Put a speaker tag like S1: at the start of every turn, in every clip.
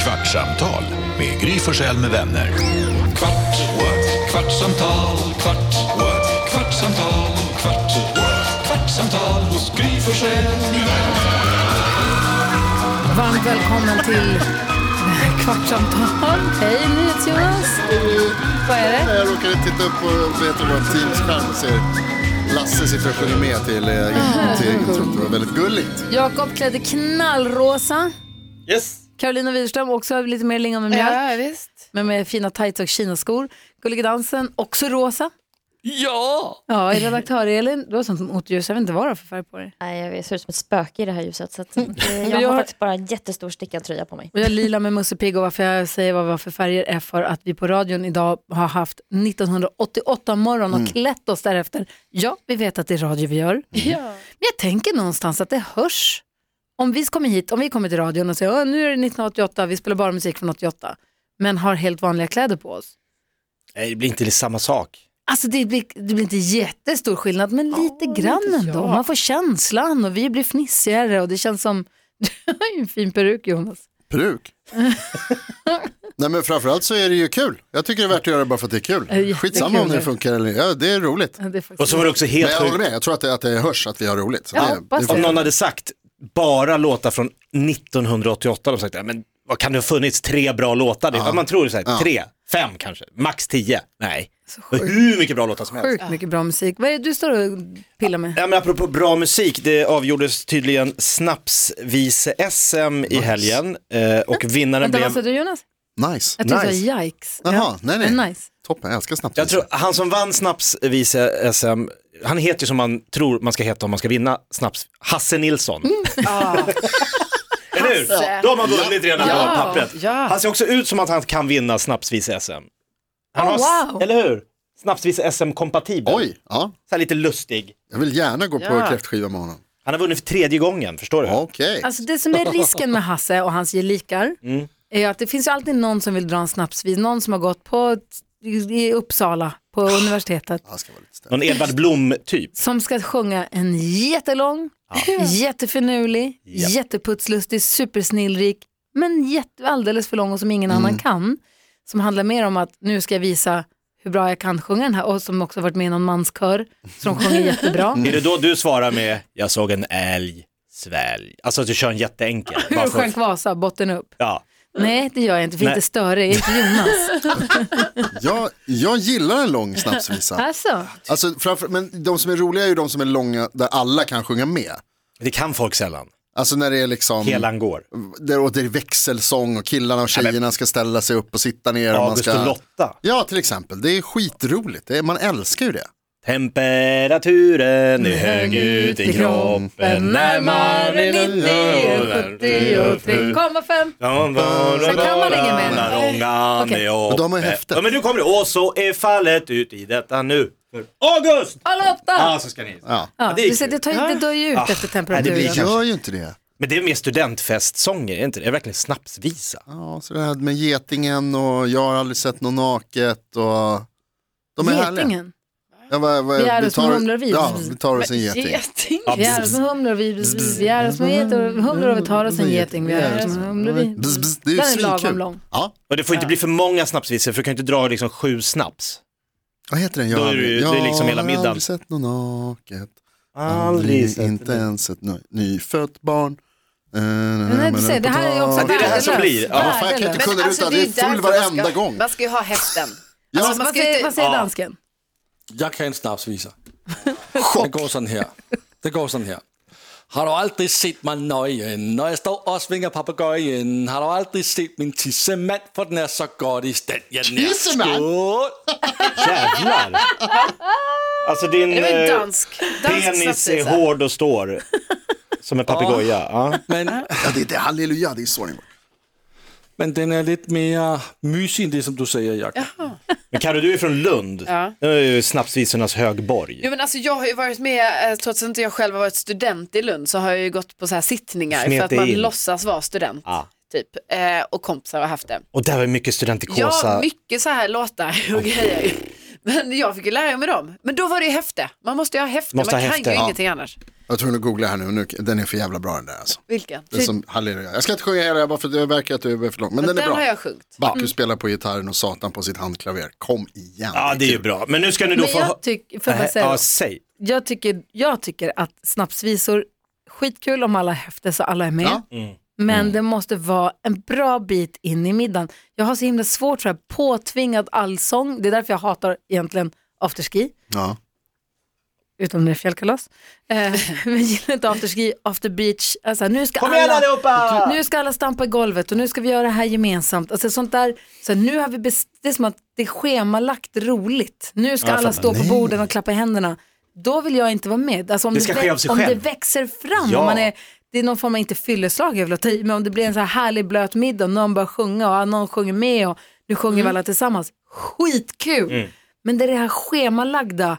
S1: Kvartsamtal med Gry Forssell med vänner. Kvart, what? kvartsamtal, kvart, what? kvartsamtal, kvart, what? kvartsamtal hos Gry Forssell med vänner.
S2: Varmt välkommen till Kvartsamtal. Hej, NyhetsJonas. Vad är det?
S3: Jag råkade titta upp på vad heter det, vår Teams-skärm och ser Lasse sitter och sjunger med till,
S2: Ah,
S3: eh, till introt. Det var väldigt gulligt.
S2: Jakob klädde knallrosa.
S4: Yes!
S2: Carolina Widerström också lite mer lingon med mjölk.
S5: Ja, visst.
S2: Men med fina tights och kinaskor. Gullige dansen, också rosa.
S4: Ja!
S2: Ja, redaktör-Elin, du har sånt som otljus. Jag vet inte vad du har för färg på dig.
S6: Nej, jag ser ut som ett spöke i det här ljuset. Så att, eh, jag
S2: jag har-
S6: har faktiskt bara en jättestor stickad tröja på mig.
S2: Och jag lila med Musse Pigg och varför jag säger vad vi har för färger är för att vi på radion idag har haft 1988 morgon
S4: Mm.
S2: och klätt oss därefter. Ja, vi vet att det är radio vi gör. Men jag tänker någonstans att det hörs. Om vi kommer hit, om vi kommer till radion och säger "Åh, nu är det 1988, vi spelar bara musik från 88, men har helt vanliga kläder på oss.
S4: Nej, det blir inte samma sak.
S2: Alltså det blir, det blir inte jättestor skillnad, men lite grann ändå. Man får känslan och vi blir fnissigare och det känns som, du har ju en fin peruk Jonas.
S3: Bruk. Nej men framförallt så är det ju kul. Jag tycker det är värt att göra det bara för att det är
S2: är
S3: kul.
S2: jättekul.
S3: Skitsamma om det funkar eller inte. Ja, det är roligt.
S2: Ja, det är faktiskt-
S4: Och så var det också
S3: Men
S4: helt
S3: jag håller
S4: sjukt,
S3: med, jag tror att det, att det hörs att vi har roligt. Så
S2: Ja,
S3: det,
S2: hoppas
S3: det,
S4: om
S2: det.
S4: någon hade sagt bara låtar från 1988, de sagt, "Ja, men vad kan det ha funnits, tre bra låtar? Det, ja. Man tror så här, tre, fem kanske, max tio. Nej, det var hur mycket bra låtar som helst.
S2: Sjukt mycket bra musik. Vad är det du står och pillar med?
S4: Ja, men apropå bra musik, det avgjordes tydligen snapsvise-SM i helgen eh, och vinnaren
S2: Vänta, vad sa
S4: blev...
S2: du Jonas?
S3: nice.
S2: Jag trodde du
S4: Nice.
S2: sa yikes.
S3: Jaha, nej nej.
S2: Nice.
S3: Toppen, jag älskar snabbt.
S4: Jag tror han som vann snapsvise-SM, han heter ju som man tror man ska heta om man ska vinna snaps, Hasse Nilsson.
S2: Mm. Ah.
S4: Eller hur? Då har man vunnit redan på pappret.
S5: Ja.
S4: Han ser också ut som att han kan vinna snapsvis-SM. Han
S2: Oh,
S4: har,
S2: wow.
S4: Eller hur? Snapsvis-SM-kompatibel.
S3: Oj, ja.
S4: Så här lite lustig.
S3: Jag vill gärna gå på
S5: Ja.
S3: kräftskiva med honom.
S4: Han har vunnit för tredje gången, förstår du?
S3: Okej.
S2: Alltså det som är risken med Hasse och hans gelikar är att det finns ju alltid någon som vill dra en snapsvis. Någon som har gått på ett- i Uppsala på universitetet
S3: Han ska vara lite snäll.
S4: Någon Edvard Blom-typ.
S2: som ska sjunga en jättelång, jättefinurlig,
S4: Japp.
S2: jätteputslustig, supersnillrik, men jätte, alldeles för lång och som ingen
S4: Mm.
S2: annan kan. Som handlar mer om att nu ska jag visa hur bra jag kan sjunga den här och som också varit med i någon manskör som sjunger jättebra.
S4: Är det då du svarar med “Jag såg en älg, svälj”? Alltså att du kör en jätteenkel.
S2: Hur
S4: bara för-
S2: sjönk Vasa? Botten upp?
S4: Ja.
S2: Nej, det gör jag inte, för jag är
S4: Nej.
S2: inte större. Jag är inte Jonas.
S3: Jag, jag gillar en lång snapsvisa.
S2: Alltså,
S3: Alltså, framför, men de som är roliga är ju de som är långa där alla kan sjunga med.
S4: Det kan folk sällan.
S3: Alltså när det är liksom,
S4: Helan går.
S3: där, och det är växelsång och killarna och tjejerna ska ställa sig upp och sitta ner. och man
S4: August
S3: ska...
S4: och Lotta.
S3: Ja, till exempel. Det är skitroligt. Det är, man älskar ju det.
S4: Temperaturen är hög ut i kroppen närmare
S2: 70,5.
S4: Sen kan
S2: Sen kan man inget mer.
S4: När ångan
S2: Okej.
S4: är
S3: Men
S4: uppe.
S3: de har ju häftet.
S4: Ja, men nu kommer det. Och så är fallet ut i detta nu. För August!
S2: Alla åtta!
S4: Ja, så ska ni.
S3: Ja.
S2: Ja,
S4: det är
S2: du ser, det, tar ju, det dör ju ut
S4: Ah,
S2: efter
S4: nej, det
S2: temperaturen.
S4: blir
S3: Jag gör ju inte det.
S4: Men det är mer studentfestsånger, är inte det? Det är verkligen snapsvisa.
S3: Ja, så det här med getingen och jag har aldrig sett någon naket. Och... De är härliga.
S2: Getingen.
S3: Ja, vad- vad-
S2: Vi är som humlar och vi.
S3: Ja, vi tar oss en geting.
S5: Geting.
S4: Ja,
S2: Vi är
S4: bzz,
S2: som humlor och vi, vi är som getor, humlor och vi tar oss en
S3: Mm.
S2: geting. Vi är som humlor och vi.
S3: Bzz, bzz, det är ju
S2: Den är lagom
S3: svinkul.
S2: lång.
S3: Ja,
S4: Och det får inte bli för många snapsvisor, för du kan ju inte dra liksom sju snaps.
S3: vad heter den? Jag
S4: Då
S3: har
S4: är det ju-
S3: aldrig-
S4: det är
S3: jag
S4: liksom hela
S3: har
S4: middagen.
S3: aldrig sett någon naket. Aldrig, inte ens ett ny, nyfött barn. Eh,
S2: nej, du ser, det här är ju också
S4: Det är det här
S3: alltså,
S4: som blir.
S3: Ja,
S4: Ja.
S3: fan, jag kan inte kunna
S5: alltså,
S3: ruta, det är full varenda gång.
S5: Man ska ju ha häften.
S3: Ja,
S5: man
S2: Vad
S5: ska
S2: säger,
S5: inte...
S2: vad säger dansken?
S7: Jag kan en snapsvisa. Det går sådan her. Det går sådan her. Har du aldrig sett mig nøgen, når jeg står og svinger papegøjen? Har du aldrig set min tissemand, for den er så godt i stand. Jeg den er
S3: Tissemand?
S7: skål.
S4: Jävlar! Alltså din
S5: Det var ju
S4: eh,
S5: dansk. Dansk
S4: penis är
S5: snapsvisa.
S4: hård och står som en papegoja. Ja.
S7: Men,
S3: ja, det är det, halleluja, det är så den går.
S7: men den er lidt mere mysig end det, som du siger, Jacob.
S4: Men Carro, du är från Lund.
S5: Ja.
S4: Det är ju snapsvisornas högborg.
S5: Jo, men alltså, jag har ju varit med, eh, trots att inte jag själv har varit student i Lund, så har jag ju gått på så här sittningar
S4: Smet
S5: för att
S4: dig
S5: man
S4: in.
S5: låtsas vara student.
S4: Ja.
S5: Typ. Eh, och kompisar har haft det.
S4: Och där var mycket studentikosa.
S5: Ja, mycket så här låtar och grejer. Men jag fick ju lära mig dem. Men då var det ju häfte. Man måste ju ha häfte,
S4: Måste
S5: man
S4: ha
S5: kan
S4: häfte,
S5: ju
S4: ja.
S5: ingenting annars.
S3: Jag tror att googla här nu. nu, den är för jävla bra den där alltså.
S5: Vilken?
S3: Det är som halleluja. Jag ska inte sjunga hela, bara för det verkar att du är för lång. Men den, är
S5: Den
S3: bra.
S5: har jag sjungit.
S3: Baku
S2: Mm.
S3: spelar på gitarren och Satan på sitt handklaver. Kom igen.
S4: Ja, det är ju bra. Men nu ska ni då
S2: Men
S4: få...
S2: jag tycker, för att säga,
S4: Ja, säg.
S2: jag, tycker, jag tycker att snapsvisor, skitkul om alla är häfter så alla är med.
S3: Ja.
S4: Mm.
S3: Mm.
S2: Men det måste vara en bra bit in i middagen. Jag har så himla svårt för det här påtvingad allsång. Det är därför jag hatar egentligen afterski,
S3: Ja.
S2: utom när det är fjällkalas. Eh, men jag gillar inte afterski, after beach. Alltså, nu, ska
S4: Kom igen
S2: alla,
S4: allihopa!
S2: nu ska alla stampa i golvet och nu ska vi göra det här gemensamt. Alltså, sånt där, så här, nu har vi best- det är som att det är schemalagt roligt. Nu ska
S4: Ja, jag
S2: alla
S4: fattar.
S2: stå på borden och klappa i händerna. Då vill jag inte vara med. Alltså, om
S4: Det
S2: det,
S4: ska
S2: vä-
S4: ske av sig
S2: om det
S4: själv.
S2: växer fram,
S4: Ja.
S2: om man är, det är någon form av, inte fylleslag jag vill ta i, men om det blir en så här härlig blöt middag, någon börjar sjunga och någon sjunger med och nu sjunger
S4: Mm.
S2: vi alla tillsammans. Skitkul! Men det är det här schemalagda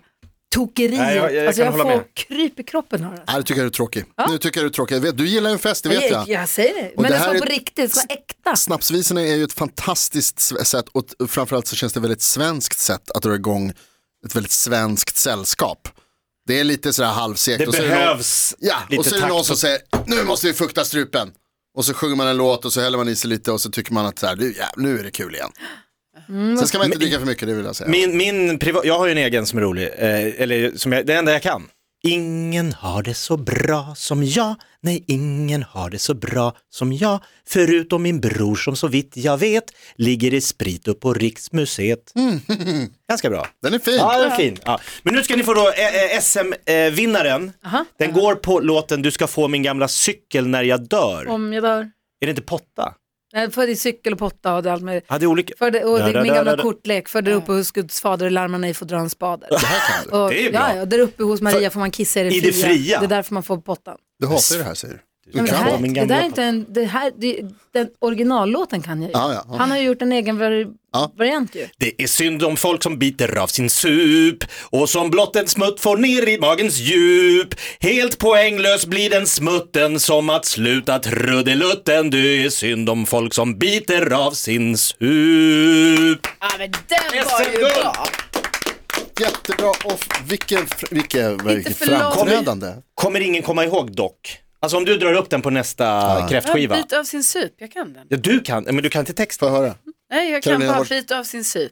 S2: tokeriet.
S4: Nej, jag- jag
S2: alltså,
S4: kan
S2: jag
S4: hålla
S2: får
S4: med.
S2: kryp i kroppen. Här.
S3: Nej, det tycker jag du är tråkig. Nu tycker jag du är tråkig. Jag vet, Du gillar ju en fest, det vet
S2: Jag,
S3: jag.
S2: jag säger det,
S3: Och
S2: men
S3: det
S2: det ska
S3: här
S2: vara
S3: är-
S2: på riktigt, det ska vara äkta.
S3: Snapsvisorna är ju ett fantastiskt sve- sätt och t- framförallt så känns det väldigt svenskt sätt att dra igång ett väldigt svenskt sällskap. Det är lite sådär halvsegt.
S4: Det
S3: och så är någon-
S4: behövs
S3: Ja,
S4: lite
S3: och så är det någon
S4: takt.
S3: som säger nu måste vi fukta strupen. Och så sjunger man en låt och så häller man i sig lite och så tycker man att så här, nu, ja, nu är det kul igen. Sen ska man inte dricka för mycket, det vill jag säga.
S4: Min, min priva- jag har ju en egen som är rolig, eh, eller som jag, det enda jag kan. Ingen har det så bra som jag, nej ingen har det så bra som jag, förutom min bror som så vitt jag vet ligger i sprit upp på Riksmuseet. Ganska bra.
S3: Den är fin.
S4: Ja, den är fin. Ja. Men nu ska ni få då eh, eh, SM-vinnaren. Den går på låten Du ska få min gamla cykel när jag dör.
S2: Om jag dör.
S4: Är det inte Potta?
S2: Nej, för det är cykel och potta och det är allt möjligt.
S4: Ja, det är olika.
S2: För det, och det
S4: Ja,
S2: är min
S4: ja,
S2: gamla
S4: ja, ja.
S2: kortlek, för där uppe hos Guds fader lär man ej få dra en spader.
S3: Det här kan du.
S2: Och,
S4: Det är ju bra.
S2: ja, ja, där uppe hos Maria får man kissa i det,
S4: i det fria.
S2: Det är därför man får pottan.
S3: Du hatar ju det här säger du. Du
S2: Nej, men det,
S3: kan
S2: här,
S4: Min
S2: det där
S4: gamla-
S2: är inte en, det här, det, den originallåten kan jag ju.
S3: Ja, ja, ja.
S2: Han har ju gjort en egen vari-
S3: Ja.
S2: variant ju.
S4: Det är synd om folk som biter av sin sup och som blott en smutt får ner i magens djup. Helt poänglös blir den smutten som att sluta trudelutten. Det är synd om folk som biter av sin sup.
S5: Ja men den var ju
S4: SM-guld!
S5: bra.
S3: Jättebra och vilken, fr- vilken, vilken
S5: för långt.
S3: framträdande.
S4: Kommer ingen komma ihåg dock? Alltså om du drar upp den på nästa kräftskiva.
S5: Bit av sin sup, jag kan den.
S4: Ja, du kan, men du kan inte texten.
S3: Får jag höra?
S5: Nej, jag kan
S3: Carolina
S5: bara
S3: Hård-
S5: bit av sin sup.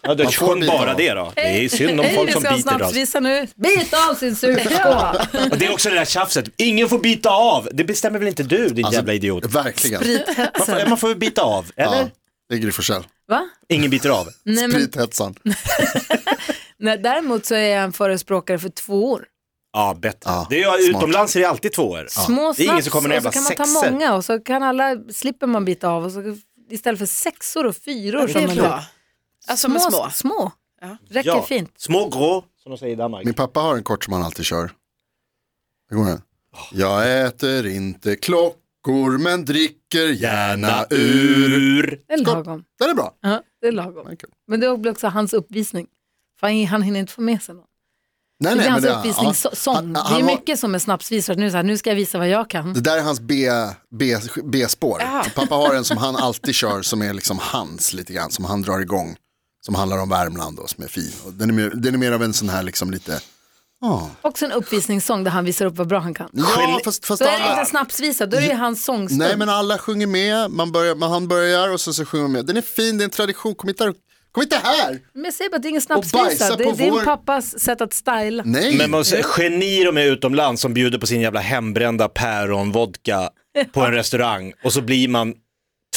S4: Ja, du
S3: Man får
S4: sjöng
S3: bita
S4: bara
S3: av.
S4: det då. Det är synd om
S2: Hej,
S4: folk
S2: vi
S4: som
S2: ska ha
S4: biter av
S2: snapsvisa nu. Bit av sin surkål.
S4: Och det är också det där tjafset, ingen får bita av. Det bestämmer väl inte du din
S3: Alltså,
S4: jävla idiot?
S3: Verkligen.
S4: Man får, man får väl bita av, eller?
S3: Alltså- Ja, det är Gry Forssell.
S2: Va?
S4: Ingen biter av.
S2: Nej, men,
S3: Sprithetsan.
S2: nej, däremot så är jag en förespråkare för två år.
S4: Ja, bättre.
S3: Ja,
S4: det är, ju-
S3: smart.
S4: utomlands är det alltid tvåor.
S2: Små
S4: Det är ingen
S2: snaps
S4: som kommer
S2: och
S4: med
S2: så
S4: jävla
S2: kan man ta
S4: sexer.
S2: många och så kan alla, slipper man bita av och så istället för sexor och fyror.
S5: Det
S2: som
S5: är
S2: man
S5: bra. Alltså med små.
S2: små.
S5: Ja.
S2: Räcker fint.
S4: Små grå, som de säger i Danmark.
S3: Min pappa har en kort som han alltid kör. Hur går den? Jag äter inte klockor men dricker gärna ur.
S2: Det är lagom.
S3: Den är bra.
S2: Ja, det är lagom.
S3: Okej.
S2: Men det blir också hans uppvisning. För han, han hinner inte få med sig någon.
S3: Nej,
S2: Det
S3: nej,
S2: är hans
S3: men
S2: uppvisningssång.
S3: han-
S2: Det är
S3: han Mm. var-
S2: mycket som är snapsvisor. Nu, är det så här, nu ska jag visa vad jag kan.
S3: Det där är hans B, B, B-spår.
S5: Jaha.
S3: Pappa har en som han alltid kör som är liksom hans lite grann, som han drar igång. Som handlar om Värmland och som är fin. Och den, är mer, den är mer av en sån här liksom lite,
S2: Också en uppvisningssång där han visar upp vad bra han kan.
S3: ja fast, fast
S2: Då är det inte
S3: alla,
S2: en snapsvisa, då är det ju hans sångstund.
S3: nej men alla sjunger med, man börjar, man, han börjar och sen så sjunger man med. Den är fin, det är en tradition, kom inte, här- kom inte här!
S2: Men jag säger bara, det är ingen
S3: Och bajsa
S2: snapsvisa. Det
S3: på
S2: är din
S3: vår-
S2: pappas sätt att styla.
S3: Nej,
S4: Men man säger, genier de är utomlands som bjuder på sin jävla hembrända päronvodka på en restaurang och så blir man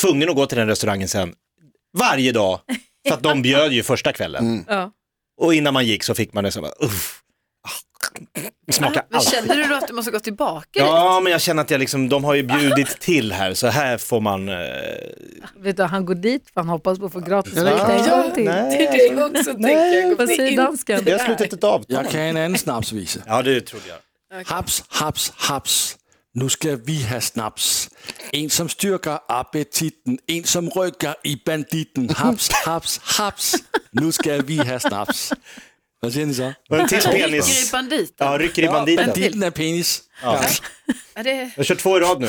S4: tvungen att gå till den restaurangen sen varje dag för att de bjöd ju första kvällen.
S3: Mm.
S2: Ja.
S4: Och innan man gick så fick man det så bara, uff. Det smakar
S5: Men
S4: allt.
S5: känner du då att du måste gå tillbaka?
S4: Ja, men jag känner att jag liksom, de har ju bjudit till här, så här får man... Eh,
S2: Vet du, han går dit för han hoppas på att få gratis
S3: Eller-
S2: valuta en gång till.
S5: Det är det jag också tänker. Jag
S2: Vad
S5: kommer
S2: säger
S5: in-
S2: dansken?
S4: jag har slutit ett avtal.
S7: Jag kan en anden snapsvise.
S4: Ja, det trodde jag.
S7: Haps, haps, haps. Nu skal vi have snaps. En, som styrker appetitten. En, som rykker i banditten. Haps, haps, haps. Nu skal vi have snaps. Hvad siger ni så?
S4: Och en till
S5: Ligger i
S4: penis.
S5: banditen.
S4: Ja, rycker i banditen.
S7: Banditten er penis.
S5: Ja, det...
S4: Jag kör två i rad nu.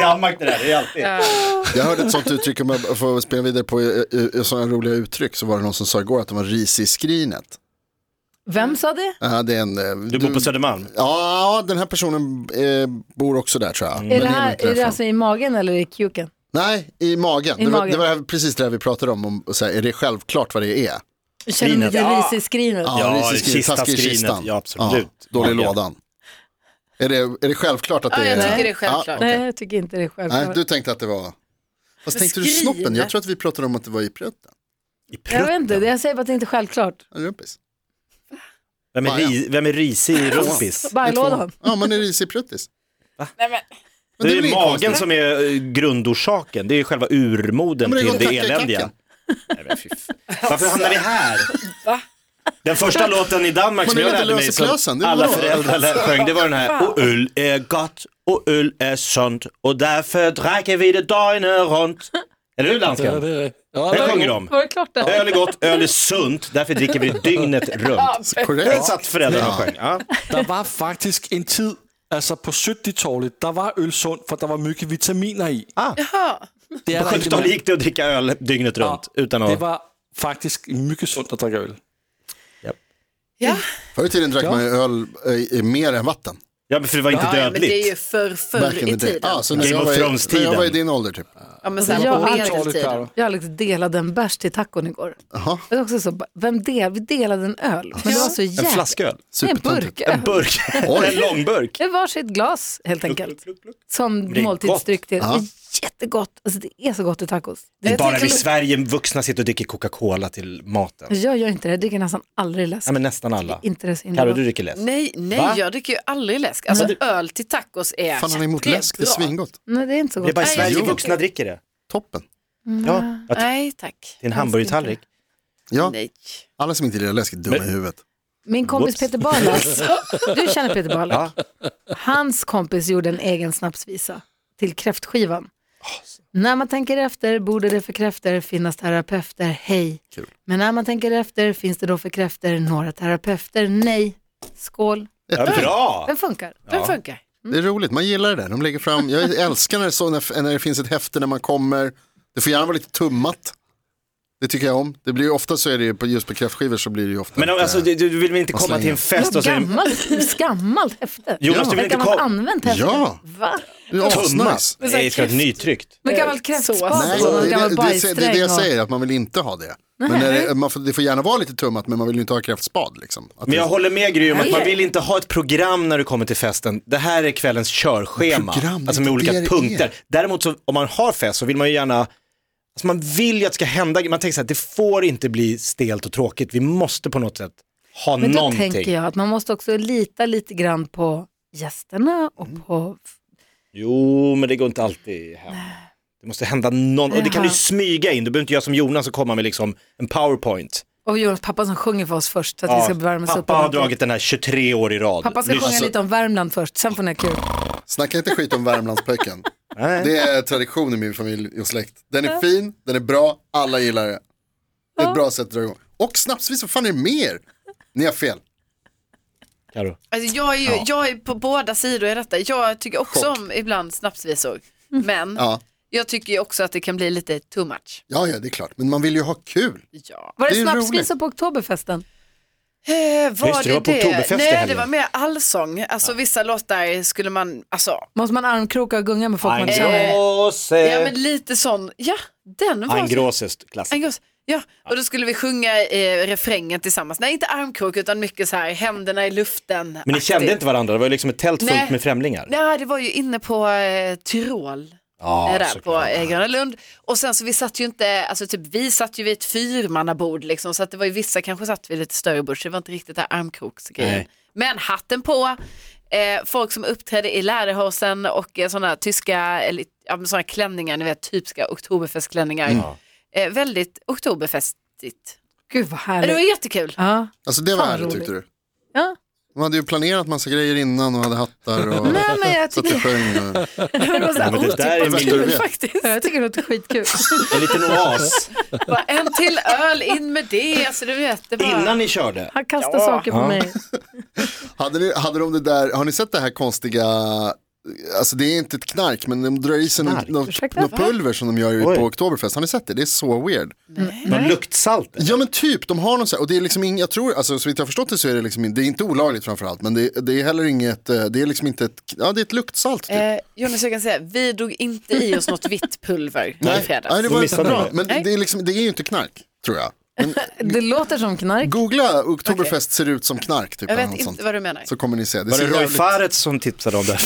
S4: Danmark det där, det är alltid.
S3: Jag hörde ett sånt uttryck, om jag får spela vidare på eh, eh, sådana roliga uttryck, så var det någon som sa igår att de var ris i skrinet.
S2: Vem sa det?
S3: Ja, det är en, eh,
S4: Du bor på Södermalm?
S3: Ja, den här personen eh, bor också där tror jag. Men
S2: Är det,
S3: nog
S2: här,
S3: inte
S2: är det
S3: därifrån.
S2: alltså i magen eller i kuken?
S3: Nej, i magen.
S2: I
S3: det, var,
S2: magen.
S3: det var här- precis det här vi pratade om, om så här, är det självklart vad det är?
S2: Känner ni
S4: Skrinet.
S2: lite
S4: Ja.
S2: risig skrinet?
S4: Ja,
S3: risig skri-
S4: kista,
S3: taskig i
S4: skrinet.
S3: kistan.
S4: Ja, absolut.
S3: dålig
S4: Magen.
S3: lådan. Är det, är det självklart att det
S5: Ja,
S3: är?
S5: jag tycker det är självklart.
S3: okej.
S2: Nej, jag tycker inte det är
S3: Nej,
S2: självklart.
S3: du tänkte att det var... Fast tänkte du
S5: Skrinet.
S3: snoppen? Jag tror att vi pratade om att det var i prutten.
S4: I
S2: Jag
S4: prutt?
S2: vet inte, det jag säger bara att det inte är självklart.
S3: Ja, Rumpis.
S4: Vem är, ri, vem är risig i rumpis?
S3: Det är två.
S2: Bärlådan.
S3: Ja, man är risig pruttis.
S5: Nej, men,
S3: Men
S4: Det är
S3: väl
S4: ju
S3: inget
S4: magen
S3: konstigt.
S4: som är eh, grundorsaken. Det är ju själva urmoden
S3: Ja, men det
S4: till
S3: går att
S4: det
S3: tacka i
S4: eländiga.
S3: kacken.
S4: Nej, men fy f- Varför hamnar vi här? Den första låten i Danmark
S3: Man
S4: som
S3: är
S4: jag
S3: lite
S4: lärde mig
S3: lös i
S4: som
S3: klösen, det är
S4: alla
S3: bra.
S4: föräldrar lär- sjöng, det var den här. Och öl är gott och öl är sunt och därför dricker vi det dygnet runt. Är det du
S7: Ja,
S4: dansken?
S7: det är det. Ja, det
S4: Det
S7: är
S4: sjunger
S7: gott.
S4: de.
S2: Var det klart det?
S4: Öl är gott, öl är sunt, därför dricker vi det dygnet runt. Det
S3: Korrekt.
S4: satt föräldrarna och sjöng. Ja.
S7: Der var faktisk en tid, altså på 70-tallet, der var øl sund, for der var mye vitaminer i.
S4: Ah.
S7: Det er
S4: På
S7: der ikke
S4: 70-talet
S7: mere.
S4: gick det att dricka öl dygnet runt utan
S7: Det
S4: att...
S7: var faktisk mycket sundt at drikke øl.
S5: ja.
S3: Förr i tiden drack man ju öl eh, mer än vatten.
S4: Ja, men för det var inte
S5: Ah, Ja, men det är ju
S4: dödligt.
S5: för förr
S3: Back in the
S5: i
S3: day.
S5: tiden.
S3: Ja, så när
S4: Game
S3: jag
S4: of
S3: var i-
S4: Thrones-tiden.
S3: När jag var i din ålder typ.
S5: Ja, men så här,
S2: Ja,
S5: på
S2: men-
S7: Dårligt,
S5: medeltiden.
S7: Karo.
S2: Jag och Alex delade en bärs till taconikor.
S3: Jaha,
S2: Det är också så, vem del, vi delade en öl, men det var så
S4: En
S2: jävla...
S4: flasköl.
S2: Nej, en
S3: supertöntigt.
S2: burk.
S4: En burk. en långburk.
S2: Det var sitt glas helt enkelt. Som
S4: Det är
S2: måltidsdryck till.
S3: Ja.
S2: Jättegott, alltså det är så gott i tacos.
S4: Det är
S5: Jag
S4: bara
S5: tänker-
S4: i Sverige vuxna sitter och dricker Coca-Cola till maten.
S2: Jag gör inte det, jag dricker nästan aldrig läsk.
S4: Ja, men nästan alla.
S2: Mm. Inte det är så himla
S4: Carro,
S2: gott.
S4: du dricker läsk.
S5: Nej, nej
S4: Va?
S5: jag dricker ju aldrig läsk. Alltså öl till tacos är...
S3: Fan han är emot
S5: är
S3: läsk, det är
S5: bra.
S3: svingott.
S2: Nej, det är inte så
S4: Det är
S2: gott.
S4: bara i
S5: Nej,
S4: Sverige
S5: jag tycker-
S4: vuxna dricker det.
S3: Toppen.
S4: Ja, ja, till
S5: Nej, tack.
S4: en hamburgertallrik.
S3: Ja,
S5: Nej.
S3: alla som inte gillar läsk är dumma i huvudet.
S2: Min kompis
S4: Whoops.
S2: Peter Barlas, du känner Peter Barlas,
S4: Ja.
S2: hans kompis gjorde en egen snapsvisa till kräftskivan. När man tänker efter borde det för kräfter finnas terapeuter, hej. Men när man tänker efter finns det då för kräfter några terapeuter, nej. Skål.
S4: Ja, bra!
S2: Den funkar.
S5: Den funkar.
S2: Mm.
S3: Det är roligt, man gillar det där. De lägger fram, jag älskar när det, så, när, när det finns ett häfte när man kommer. Det får gärna vara lite tummat. Det tycker jag om. Det blir ju ofta så är det ju på, just på kräftskivor så blir det ju ofta.
S4: Men
S3: inte-
S4: alltså, du, du vill väl inte komma
S3: slänger.
S4: till en fest
S2: Något
S4: och så...
S2: gammalt, gammalt häfte.
S4: Jonas, du vill
S2: Ett
S4: inte
S2: gammalt
S4: komma...
S2: använt häfte.
S3: Ja.
S2: Va?
S3: det är
S4: Tumma?
S3: asnice.
S4: Nej, det ska vara nytryckt.
S2: Men gammalt
S3: Nej,
S2: kräftspad och
S3: det,
S2: alltså, någon
S3: det,
S2: gammal
S3: det, det är det
S2: bajssträng. och-
S3: jag säger, att man vill inte ha det. Men när det, man får, det får gärna vara lite tummat, men man vill ju inte ha kräftspad. Liksom. Att
S4: Men jag
S3: det-
S4: håller med Gry om att man
S5: Nej.
S4: vill inte ha ett program när du kommer till festen. Det här är kvällens körschema,
S3: Men program, det är
S4: alltså med
S3: inte
S4: olika
S3: det det
S4: punkter.
S3: är.
S4: Däremot så, om man har fest så vill man ju gärna, alltså man vill ju att det ska hända, man tänker så här, det får inte bli stelt och tråkigt, vi måste på något sätt ha
S2: Men då
S4: någonting.
S2: tänker jag att man måste också lita lite grann på gästerna och
S3: Mm.
S2: på...
S4: Jo, men det går inte alltid hem. Det måste hända någon, och det kan du
S2: Jaha.
S4: ju smyga in, du behöver inte göra som Jonas och komma med liksom en powerpoint.
S2: Och Jonas pappa som sjunger för oss först så att vi ska värma oss upp.
S4: pappa har
S2: ordentligt.
S4: dragit den här 23 år i rad.
S2: Pappa ska
S4: Lyssna.
S2: sjunga lite om Värmland först, sen får ni ha kul.
S3: Snacka inte skit om Värmlandspöken.
S4: Nej.
S3: Det är tradition i min familj och släkt. Den är fin, den är bra, alla gillar det. Det är ett bra sätt att dra igång. Och snapsvis, vad fan är det mer? Ni har fel.
S4: Karo.
S5: Alltså, jag, är ju, jag är på båda sidor i detta. Jag tycker också om ibland snapsvisor. Men
S3: Ja.
S5: jag tycker ju också att det kan bli lite too much.
S3: Ja, ja, det är klart. Men man vill ju ha kul.
S5: Ja.
S2: Var det,
S3: Det är
S2: snapsvisor på oktoberfesten?
S5: Eh, var
S4: Just det, det var på
S5: det
S4: Oktoberfest i
S5: det? Nej, det
S4: helgen.
S5: var mer allsång. Alltså vissa låtar skulle man, alltså,
S2: Måste man armkroka och gunga med folk man inte känner?
S4: Eh.
S5: ja men lite sån, ja den var
S4: Angrosest klass.
S5: Angås. Ja, och då skulle vi sjunga eh, refrängen tillsammans. Nej, inte armkrok utan mycket så här händerna i luften.
S4: Men ni kände inte varandra, det var ju liksom ett tält fullt
S5: Nej.
S4: med främlingar.
S5: Nej, det var ju inne på eh, Tyrol.
S4: Ja,
S5: eh, där
S4: såklart.
S5: på eh, Gröna Lund. Och sen så vi satt ju inte, alltså typ vi satt ju vid ett fyrmannabord liksom så att det var ju vissa kanske satt vid lite större bord så det var inte riktigt det här armkroksgrejen.
S4: Nej.
S5: Men hatten på, eh, folk som uppträdde i läderhosen och eh, sådana tyska, eller ja, men sådana klänningar, ni vet typiska oktoberfestklänningar.
S4: Mm.
S5: Eh, väldigt oktoberfestigt.
S2: Gud vad
S5: Men Det var
S2: härligt.
S5: jättekul.
S2: Ja.
S3: Alltså det var
S2: Fan,
S3: härligt
S2: roligt.
S3: tyckte du.
S2: Ja.
S3: De hade ju planerat massa grejer innan och hade hattar och
S2: Nej men jag
S3: satt och
S2: tycker,
S3: sjöng. Och...
S5: Det var så
S4: Ja,
S5: här
S4: men det där är
S5: otippat
S4: min-
S5: kul faktiskt.
S2: jag tycker det låter skitkul.
S4: En liten oas.
S5: Bara, en till öl, in med det. Alltså, du vet, det bara...
S4: Innan ni körde.
S2: Han kastar saker på mig.
S3: Hade, ni, hade de det där, har ni sett det här konstiga alltså det är inte ett knark, men de drar i sig något, något,
S2: Ursäkta,
S3: något
S2: va?
S3: pulver som de gör ju
S4: Oj.
S3: på Oktoberfest. Har ni sett det? Det är så weird.
S4: Någon luktsalt?
S3: Ja men typ, de har någon så här, och det är liksom ing, jag tror, alltså så vitt jag har förstått det så är det liksom, in- det är inte olagligt framförallt, men det, det är heller inget, eh, det är liksom inte ett, ja det är ett luktsalt typ.
S5: Eh, Jonas, jag kan säga, vi drog inte i oss något vitt pulver i fredags.
S3: Nej, det
S4: Då
S3: var inte
S4: missade
S3: bra.
S4: du.
S3: Men det
S5: Nej.
S3: det är, liksom, det är ju inte knark, tror jag. Men
S2: Det låter som knark.
S3: googla Oktoberfest ser ut som knark, typ.
S5: Jag
S3: eller
S5: vet
S3: något
S5: inte
S3: sånt.
S5: vad du menar.
S3: Så kommer ni se. Det
S4: Var det
S3: ser
S4: Roy
S3: jävligt-
S4: Fares som tipsade om det?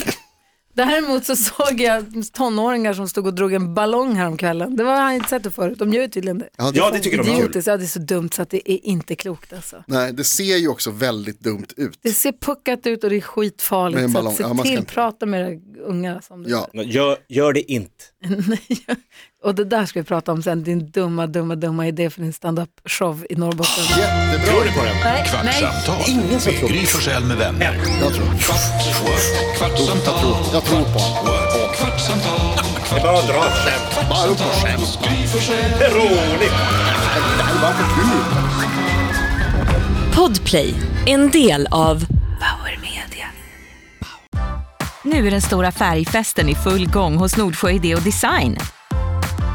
S2: Däremot så såg jag tonåringar som stod och drog en ballong häromkvällen. Det var jag inte sett det förut. De gör ju tydligen det.
S3: Ja, det,
S4: Ja, det tycker de är kul.
S2: Idiotiskt, ja det är så dumt så att det är inte klokt alltså.
S3: Nej, det ser ju också väldigt dumt ut.
S2: Det ser puckat ut och det är skitfarligt.
S3: Med en
S2: så
S3: ballong.
S2: att se
S3: Ja, man ska
S2: till,
S3: inte-
S2: prata med era unga som du
S3: Ja.
S4: Gör, gör det inte.
S2: Nej, och det där ska vi prata om sen, din dumma, dumma, dumma idé för din standup-show i Norrbotten.
S3: Jättebra.
S1: Kvartsamtal med Gry Forssell med vänner.
S3: Jag tror.
S1: Kvart, what? kvartsamtal,
S3: Jag tror på honom.
S1: what? kvartsamtal,
S4: Det är bara att dra ett skämt.
S1: kvartsamtal hos Gry Forssell.
S4: Det är roligt.
S8: Podplay, en del av Power Media.
S9: Nu är den stora färgfesten i full gång hos Nordsjö Idé och Design.